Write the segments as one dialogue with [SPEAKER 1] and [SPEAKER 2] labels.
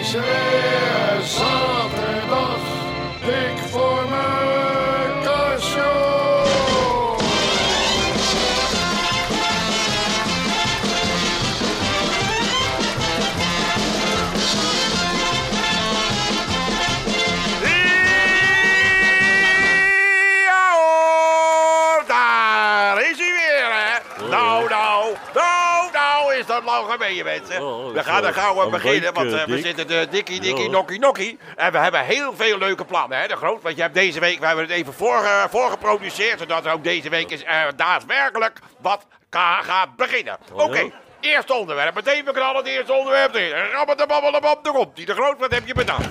[SPEAKER 1] is weer zaterdag. Dik voor mijn kastje.
[SPEAKER 2] Ja hoor, daar is hij weer, hè. Nou, nou, nou, nou is dat lang geleden, mensen.
[SPEAKER 3] Oh, dat
[SPEAKER 2] we
[SPEAKER 3] is
[SPEAKER 2] gaan er
[SPEAKER 3] wel
[SPEAKER 2] gauw aan
[SPEAKER 3] een
[SPEAKER 2] beginnen,
[SPEAKER 3] week,
[SPEAKER 2] want eh,
[SPEAKER 3] eh,
[SPEAKER 2] we
[SPEAKER 3] Dick.
[SPEAKER 2] zitten eh, dikkie, dikkie,
[SPEAKER 3] Ja.
[SPEAKER 2] nokkie, nokkie. En we hebben heel veel leuke plannen, hè, de Groot. Want je hebt deze week, we hebben het even voorge- voorgeproduceerd, zodat er ook deze week is eh, daadwerkelijk wat ka- gaat beginnen. Oké.
[SPEAKER 3] Oh, ja.
[SPEAKER 2] Eerste onderwerp, meteen we knallen het eerste onderwerp erin. Rabbadabbadabab, daar komt die. De Groot, wat heb je bedacht?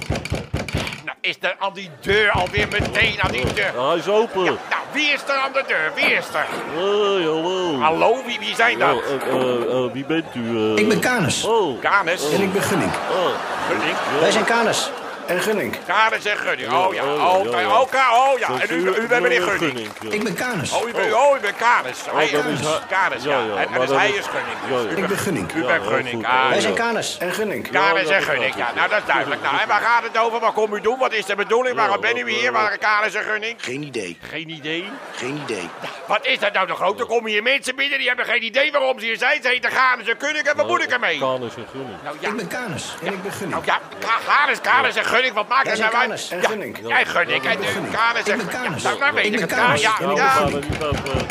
[SPEAKER 2] Nou, is er aan die deur alweer meteen aan die deur?
[SPEAKER 3] Hij is open.
[SPEAKER 2] Ja, nou, wie is er aan de deur? Wie is er?
[SPEAKER 3] Hey, hallo.
[SPEAKER 2] Hallo, wie, wie zijn dat?
[SPEAKER 3] Oh, eh, eh, eh, wie bent u? eh?
[SPEAKER 4] Ik ben Kanus.
[SPEAKER 3] Oh,
[SPEAKER 2] Kanes.
[SPEAKER 4] En ik ben Gunnink.
[SPEAKER 3] oh,
[SPEAKER 2] Gunning.
[SPEAKER 4] Wij zijn Kanus. En Gunnink.
[SPEAKER 2] Kanes en Gunning. Oh ja,
[SPEAKER 3] Ja,
[SPEAKER 2] oh,
[SPEAKER 3] ja,
[SPEAKER 2] ja,
[SPEAKER 3] ja.
[SPEAKER 2] oh, ka- oh ja.
[SPEAKER 3] dat
[SPEAKER 2] En
[SPEAKER 3] is eh,
[SPEAKER 2] u, u bent meneer Gunning.
[SPEAKER 3] ja.
[SPEAKER 4] Ik ben Kanus.
[SPEAKER 2] Oh, u bent, oh, u bent Kanes. Hij
[SPEAKER 3] dat is
[SPEAKER 2] is
[SPEAKER 3] hij.
[SPEAKER 2] Kanes, ja.
[SPEAKER 3] Ja, ja,
[SPEAKER 2] En, en
[SPEAKER 3] maar
[SPEAKER 2] dus
[SPEAKER 3] dat
[SPEAKER 2] hij
[SPEAKER 3] is-
[SPEAKER 2] is Gunning.
[SPEAKER 3] ja, ja.
[SPEAKER 2] U
[SPEAKER 3] Ik
[SPEAKER 4] Ik
[SPEAKER 2] bent-
[SPEAKER 4] ben Gunnink.
[SPEAKER 2] U bent
[SPEAKER 3] heel
[SPEAKER 2] Gunning.
[SPEAKER 3] goed.
[SPEAKER 2] Ah,
[SPEAKER 4] Wij
[SPEAKER 2] ja.
[SPEAKER 4] zijn Kanus. En Gunnink.
[SPEAKER 2] Kanes
[SPEAKER 3] Ja,
[SPEAKER 2] en
[SPEAKER 3] dat
[SPEAKER 2] Gunning.
[SPEAKER 3] begrijp
[SPEAKER 2] Ja,
[SPEAKER 3] ik.
[SPEAKER 2] nou, dat is duidelijk. Nou, en waar gaat het over? Wat komt u doen? Wat is de bedoeling?
[SPEAKER 3] Ja,
[SPEAKER 2] Waarom bent u
[SPEAKER 3] wat,
[SPEAKER 2] hier?
[SPEAKER 3] eh,
[SPEAKER 2] Waar Kanes en Gunning?
[SPEAKER 4] Geen idee.
[SPEAKER 2] Geen idee.
[SPEAKER 4] Geen idee.
[SPEAKER 2] Wat is dat nou de grote? Er komen hier mensen binnen die hebben geen idee waarom ze hier zijn. Ze heten Kanes en Gunning en
[SPEAKER 3] Nou,
[SPEAKER 2] wat moet ik ermee?
[SPEAKER 3] Kanus en Gunning.
[SPEAKER 2] Nou ja,
[SPEAKER 4] Ik ben Kanus. En ik ben
[SPEAKER 2] Nou
[SPEAKER 4] Gunnink.
[SPEAKER 2] ja, Ka- Garis, Garis en Gunning, wat maakt
[SPEAKER 4] Jij
[SPEAKER 2] het
[SPEAKER 4] zijn
[SPEAKER 2] nou uit?
[SPEAKER 4] Garis en
[SPEAKER 2] Ja,
[SPEAKER 4] Gunning.
[SPEAKER 2] Jij Gunning en eh, Garis
[SPEAKER 4] Ik
[SPEAKER 2] en
[SPEAKER 4] ben Garis.
[SPEAKER 2] Ja, nou, nou weet
[SPEAKER 4] Ik
[SPEAKER 2] ik
[SPEAKER 4] ben
[SPEAKER 2] het.
[SPEAKER 4] Garis.
[SPEAKER 2] Ja,
[SPEAKER 4] En
[SPEAKER 2] ja,
[SPEAKER 4] ik
[SPEAKER 2] ja.
[SPEAKER 4] ben
[SPEAKER 3] Nou, we gaan er niet over.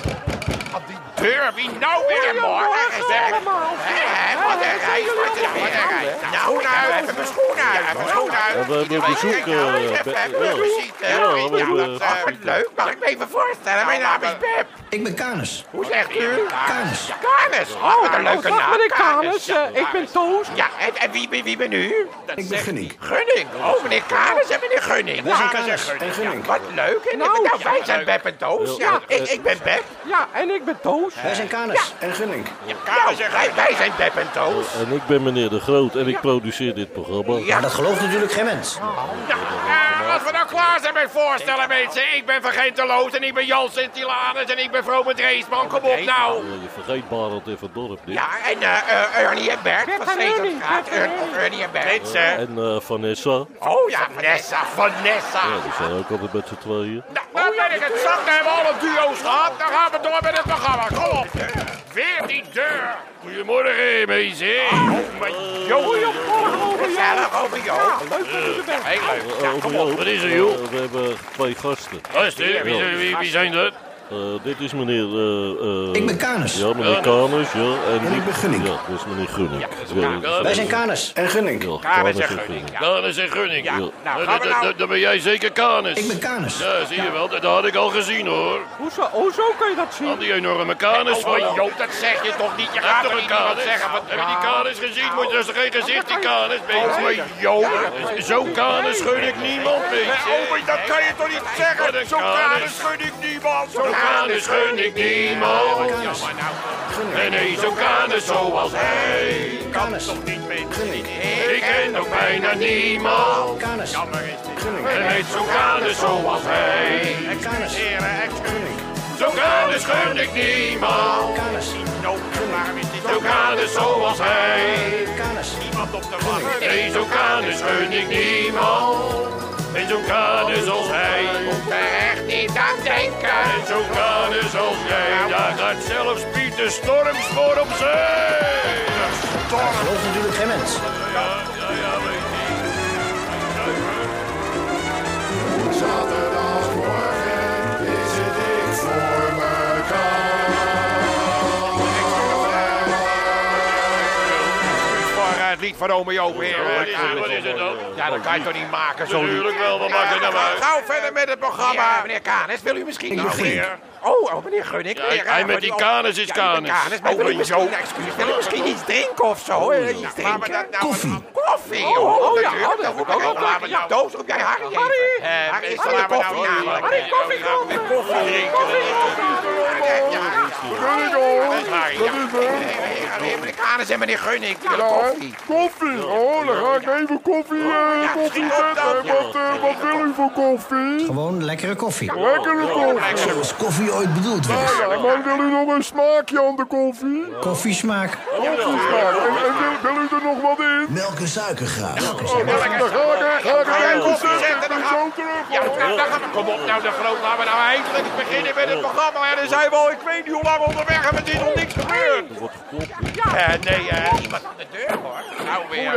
[SPEAKER 2] Op die deur, wie nou weer een morgen is hè? Hè, hè, Wat een reis, wat een wat een reis. Nou, nou, even mijn schoenen uit, even mijn schoenen uit.
[SPEAKER 3] Ja, we hebben bezoek,
[SPEAKER 2] Kijk nou,
[SPEAKER 3] eh,
[SPEAKER 2] even-
[SPEAKER 3] Pe-
[SPEAKER 2] even
[SPEAKER 3] ja.
[SPEAKER 2] muziek, hè.
[SPEAKER 3] Ja, we
[SPEAKER 2] Ja,
[SPEAKER 3] hebben,
[SPEAKER 2] dat,
[SPEAKER 3] eh,
[SPEAKER 2] eh,
[SPEAKER 3] Pep.
[SPEAKER 2] Leuk, mag ik me even voorstellen? Mijn naam is Pep.
[SPEAKER 4] Ik ben Kanus.
[SPEAKER 2] Hoe zegt u?
[SPEAKER 4] Garis.
[SPEAKER 2] Garis. Oh, wat een leuke naam.
[SPEAKER 5] Dag meneer Kanus,
[SPEAKER 2] Garis, ja,
[SPEAKER 5] eh, ik ben
[SPEAKER 2] Garis.
[SPEAKER 5] Toos.
[SPEAKER 2] Ja, en, en wie, wie, wie ben u? Dat
[SPEAKER 4] Ik ben
[SPEAKER 2] zegt
[SPEAKER 4] Gunning.
[SPEAKER 2] hij. Gunning? Oh, meneer Kanis en meneer Gunning.
[SPEAKER 4] Wij zijn
[SPEAKER 2] Kanis
[SPEAKER 4] Kanis en Gunning.
[SPEAKER 2] Ja, wat leuk. En
[SPEAKER 5] Nou,
[SPEAKER 2] nou, wij
[SPEAKER 5] ja,
[SPEAKER 2] zijn
[SPEAKER 5] leuk.
[SPEAKER 2] Beb en Toos.
[SPEAKER 3] Ja,
[SPEAKER 2] Ja,
[SPEAKER 3] eh,
[SPEAKER 2] ik, ik ben Beb.
[SPEAKER 5] Ja, en ik ben Toos.
[SPEAKER 4] Wij zijn Kanus. En Gunnink.
[SPEAKER 2] Ja, Kanis en Nou, wij, wij zijn Beb en Toos.
[SPEAKER 3] eh, En ik ben meneer De Groot en ik produceer dit programma.
[SPEAKER 2] Ja.
[SPEAKER 4] Maar dat gelooft natuurlijk geen mens.
[SPEAKER 2] Nou, eh, als we nou klaar zijn met voorstellen, mensen. Ik ben Vergenteloos en ik ben Jan Sint-Hilanus en ik ben Vrome Dreesman. Kom op nou.
[SPEAKER 3] Ja, Eh, Je vergeet Barend even dorp dit.
[SPEAKER 2] Ja, en eh, eh, Ernie en Bert van
[SPEAKER 5] en Ernie,
[SPEAKER 2] Zeesterstraat.
[SPEAKER 5] Bert en Ernie.
[SPEAKER 2] Ernie en Bert. Mensen.
[SPEAKER 3] En eh, Vanessa.
[SPEAKER 2] Oh ja, Vanessa, Vanessa.
[SPEAKER 3] Ja, die zijn ook altijd met z'n tweeën.
[SPEAKER 2] Nou, nou ben ik het zat. Dan hebben we alle duo's gehad. Dan gaan we door met het programma. Kom op. Weer die deur. Goedemorgen, meisje. Oh, mijn joh.
[SPEAKER 5] Goedemorgen, over jou.
[SPEAKER 2] Gezellig over
[SPEAKER 5] eh, Ja,
[SPEAKER 2] jou.
[SPEAKER 5] leuk dat je er bent.
[SPEAKER 2] Heel leuk.
[SPEAKER 3] Eh,
[SPEAKER 2] Ja,
[SPEAKER 3] over
[SPEAKER 2] kom
[SPEAKER 3] jou.
[SPEAKER 2] op.
[SPEAKER 6] wat is er, joh?
[SPEAKER 3] Eh, we hebben twee gasten.
[SPEAKER 6] Gasten, wie, zijn- wie, wie zijn dat?
[SPEAKER 3] Eh, dit is meneer... eh, eh,
[SPEAKER 4] Ik ben Kanus.
[SPEAKER 3] Ja, meneer Kanus, ja. En,
[SPEAKER 4] ik
[SPEAKER 3] dit-
[SPEAKER 4] ben Gunning.
[SPEAKER 3] Ja, dat is meneer Gunning. Ja,
[SPEAKER 2] dat is Kanus.
[SPEAKER 4] Wij zijn Kanus. En Gunnink.
[SPEAKER 3] Ja,
[SPEAKER 2] Karis
[SPEAKER 3] Kanus
[SPEAKER 2] en
[SPEAKER 3] en
[SPEAKER 2] Gunning.
[SPEAKER 3] Gunning.
[SPEAKER 2] Ja.
[SPEAKER 6] Kanus en Gunning.
[SPEAKER 2] Ja, nou, gaan we
[SPEAKER 6] dat-
[SPEAKER 2] nou-
[SPEAKER 6] dat- Dan ben jij zeker Kanus.
[SPEAKER 4] Ik ben Kanus.
[SPEAKER 6] Ja, zie je wel, dat had ik al gezien hoor.
[SPEAKER 5] Hoezo, oh, zo kan je dat
[SPEAKER 6] Al
[SPEAKER 5] zien.
[SPEAKER 6] die enorme Kanus
[SPEAKER 2] Oh,
[SPEAKER 6] van
[SPEAKER 2] mijn
[SPEAKER 6] jou.
[SPEAKER 2] joh, dat zeg je toch niet? Je
[SPEAKER 6] Heb
[SPEAKER 2] gaat
[SPEAKER 6] je
[SPEAKER 2] toch
[SPEAKER 6] toch
[SPEAKER 2] niet
[SPEAKER 6] een
[SPEAKER 2] wat
[SPEAKER 6] Kanus?
[SPEAKER 2] zeggen? Wat,
[SPEAKER 6] Heb je die Kanus gezien? Moet je, dat is geen gezicht, die Kanus,
[SPEAKER 2] Oh,
[SPEAKER 6] mensen.
[SPEAKER 2] mijn joh.
[SPEAKER 6] Zo'n Kanus gun ik niemand,
[SPEAKER 2] Oh,
[SPEAKER 6] mensen.
[SPEAKER 2] maar dat kan je toch niet
[SPEAKER 6] Wat
[SPEAKER 2] zeggen?
[SPEAKER 6] een
[SPEAKER 2] Zo'n
[SPEAKER 6] Karis.
[SPEAKER 2] Karis gun ik niemand.
[SPEAKER 6] Zo'n Kanus gun ik niemand.
[SPEAKER 4] nou,
[SPEAKER 6] Nee, nee, zo'n Kanus zoals hij.
[SPEAKER 4] Kanus.
[SPEAKER 2] Niet meer.
[SPEAKER 4] Gunnink.
[SPEAKER 6] Ik ken ook bijna niemand.
[SPEAKER 4] Kanus.
[SPEAKER 6] En
[SPEAKER 4] Gunnink.
[SPEAKER 6] heet zo'n Kanus zoals hij.
[SPEAKER 4] Kanus.
[SPEAKER 2] Heren, excuus.
[SPEAKER 4] Gunnink.
[SPEAKER 6] Zo kan dus gun ik niemand.
[SPEAKER 4] Kanus.
[SPEAKER 2] Nou, waarom is dit
[SPEAKER 6] Zo
[SPEAKER 2] ook
[SPEAKER 6] kan dus zoals hij.
[SPEAKER 4] Kanus.
[SPEAKER 2] niemand op de wacht?
[SPEAKER 6] Nee, zo kan dus gun ik niemand. En zo kan dus als hij.
[SPEAKER 2] moet er echt niet aan denken.
[SPEAKER 6] En zo kan dus als jij. Daar gaat zelfs Pieter Storms voor op zee.
[SPEAKER 4] Dat gelooft natuurlijk geen mens.
[SPEAKER 1] Zaterdagmorgen is het dik voor mekaar.
[SPEAKER 2] Voor eh, het lied van Romeo Joop, heren.
[SPEAKER 6] Ja, Wat is het dan?
[SPEAKER 2] Ja, dat kan je toch niet maken, zo'n lied.
[SPEAKER 6] Natuurlijk wel, wat maakt het
[SPEAKER 2] Ja,
[SPEAKER 6] nou uit?
[SPEAKER 2] Gauw verder met het programma. Nou, meneer Kanis, wil u misschien
[SPEAKER 4] Ik
[SPEAKER 2] nog
[SPEAKER 4] begin.
[SPEAKER 2] meer? Oh, oh, meneer Gunnik.
[SPEAKER 6] hij- hij met die Kanis is Kanis.
[SPEAKER 2] Kanis, maar
[SPEAKER 6] Oh,
[SPEAKER 2] wil u
[SPEAKER 6] mijn
[SPEAKER 2] misschien,
[SPEAKER 6] joh.
[SPEAKER 2] excuus, wil u misschien iets drinken of zo? Eh, iets drinken?
[SPEAKER 4] Koffie.
[SPEAKER 2] Koffie,
[SPEAKER 5] Oh,
[SPEAKER 2] joh.
[SPEAKER 5] oh, ja,
[SPEAKER 2] natuurlijk,
[SPEAKER 5] oh,
[SPEAKER 2] dat
[SPEAKER 5] dat
[SPEAKER 2] moet
[SPEAKER 5] moet
[SPEAKER 2] ik
[SPEAKER 5] ook
[SPEAKER 2] ook
[SPEAKER 5] wel
[SPEAKER 2] laten.
[SPEAKER 5] drinken,
[SPEAKER 2] Ja,
[SPEAKER 5] ja.
[SPEAKER 2] Doos, ook jij nou- Harry even.
[SPEAKER 5] Harry.
[SPEAKER 2] Eh, Harry,
[SPEAKER 5] Harry,
[SPEAKER 2] zal hij maar
[SPEAKER 5] koffie.
[SPEAKER 2] nou namelijk.
[SPEAKER 5] Harry,
[SPEAKER 2] Eh,
[SPEAKER 5] Ah, koffie
[SPEAKER 2] nou,
[SPEAKER 5] komen.
[SPEAKER 2] met Koffie drinken. Ja, ja. Dat is Harry, ja. Eh, eh, eh, Meneer Kanis en meneer Gunnik, die willen koffie.
[SPEAKER 7] Koffie? Oh, dan ga ik even koffie, eh,
[SPEAKER 2] Ja,
[SPEAKER 7] koffie
[SPEAKER 2] schiet op dan.
[SPEAKER 7] zetten. Wat, eh, wat wil u voor koffie?
[SPEAKER 4] Gewoon lekkere koffie.
[SPEAKER 7] Lekkere koffie.
[SPEAKER 4] Zoals koffie ooit bedoeld werd.
[SPEAKER 7] Ja, maar wil u nog een smaakje aan de koffie?
[SPEAKER 4] Koffiesmaak.
[SPEAKER 7] Koffiesmaak. En, en wil, wil u er nog wat in?
[SPEAKER 8] melk en suikergraaf.
[SPEAKER 2] oh,
[SPEAKER 7] Dan ga ik echt ga ik
[SPEAKER 2] Ga jij
[SPEAKER 7] even
[SPEAKER 2] koffie
[SPEAKER 7] terug.
[SPEAKER 2] zetten,
[SPEAKER 7] Ik
[SPEAKER 2] dan
[SPEAKER 7] ben
[SPEAKER 2] ga-
[SPEAKER 7] zo terug.
[SPEAKER 2] Ja,
[SPEAKER 7] hoor.
[SPEAKER 2] nou, dan gaan- kom op nou de groot, laten we nou eindelijk beginnen met het programma. En dan zijn we al, ik weet niet hoe lang onderweg en met dit nog niks gebeurd.
[SPEAKER 3] Er wordt geklopt.
[SPEAKER 2] Eh, nee, eh, niemand aan de deur hoor. Nou weer.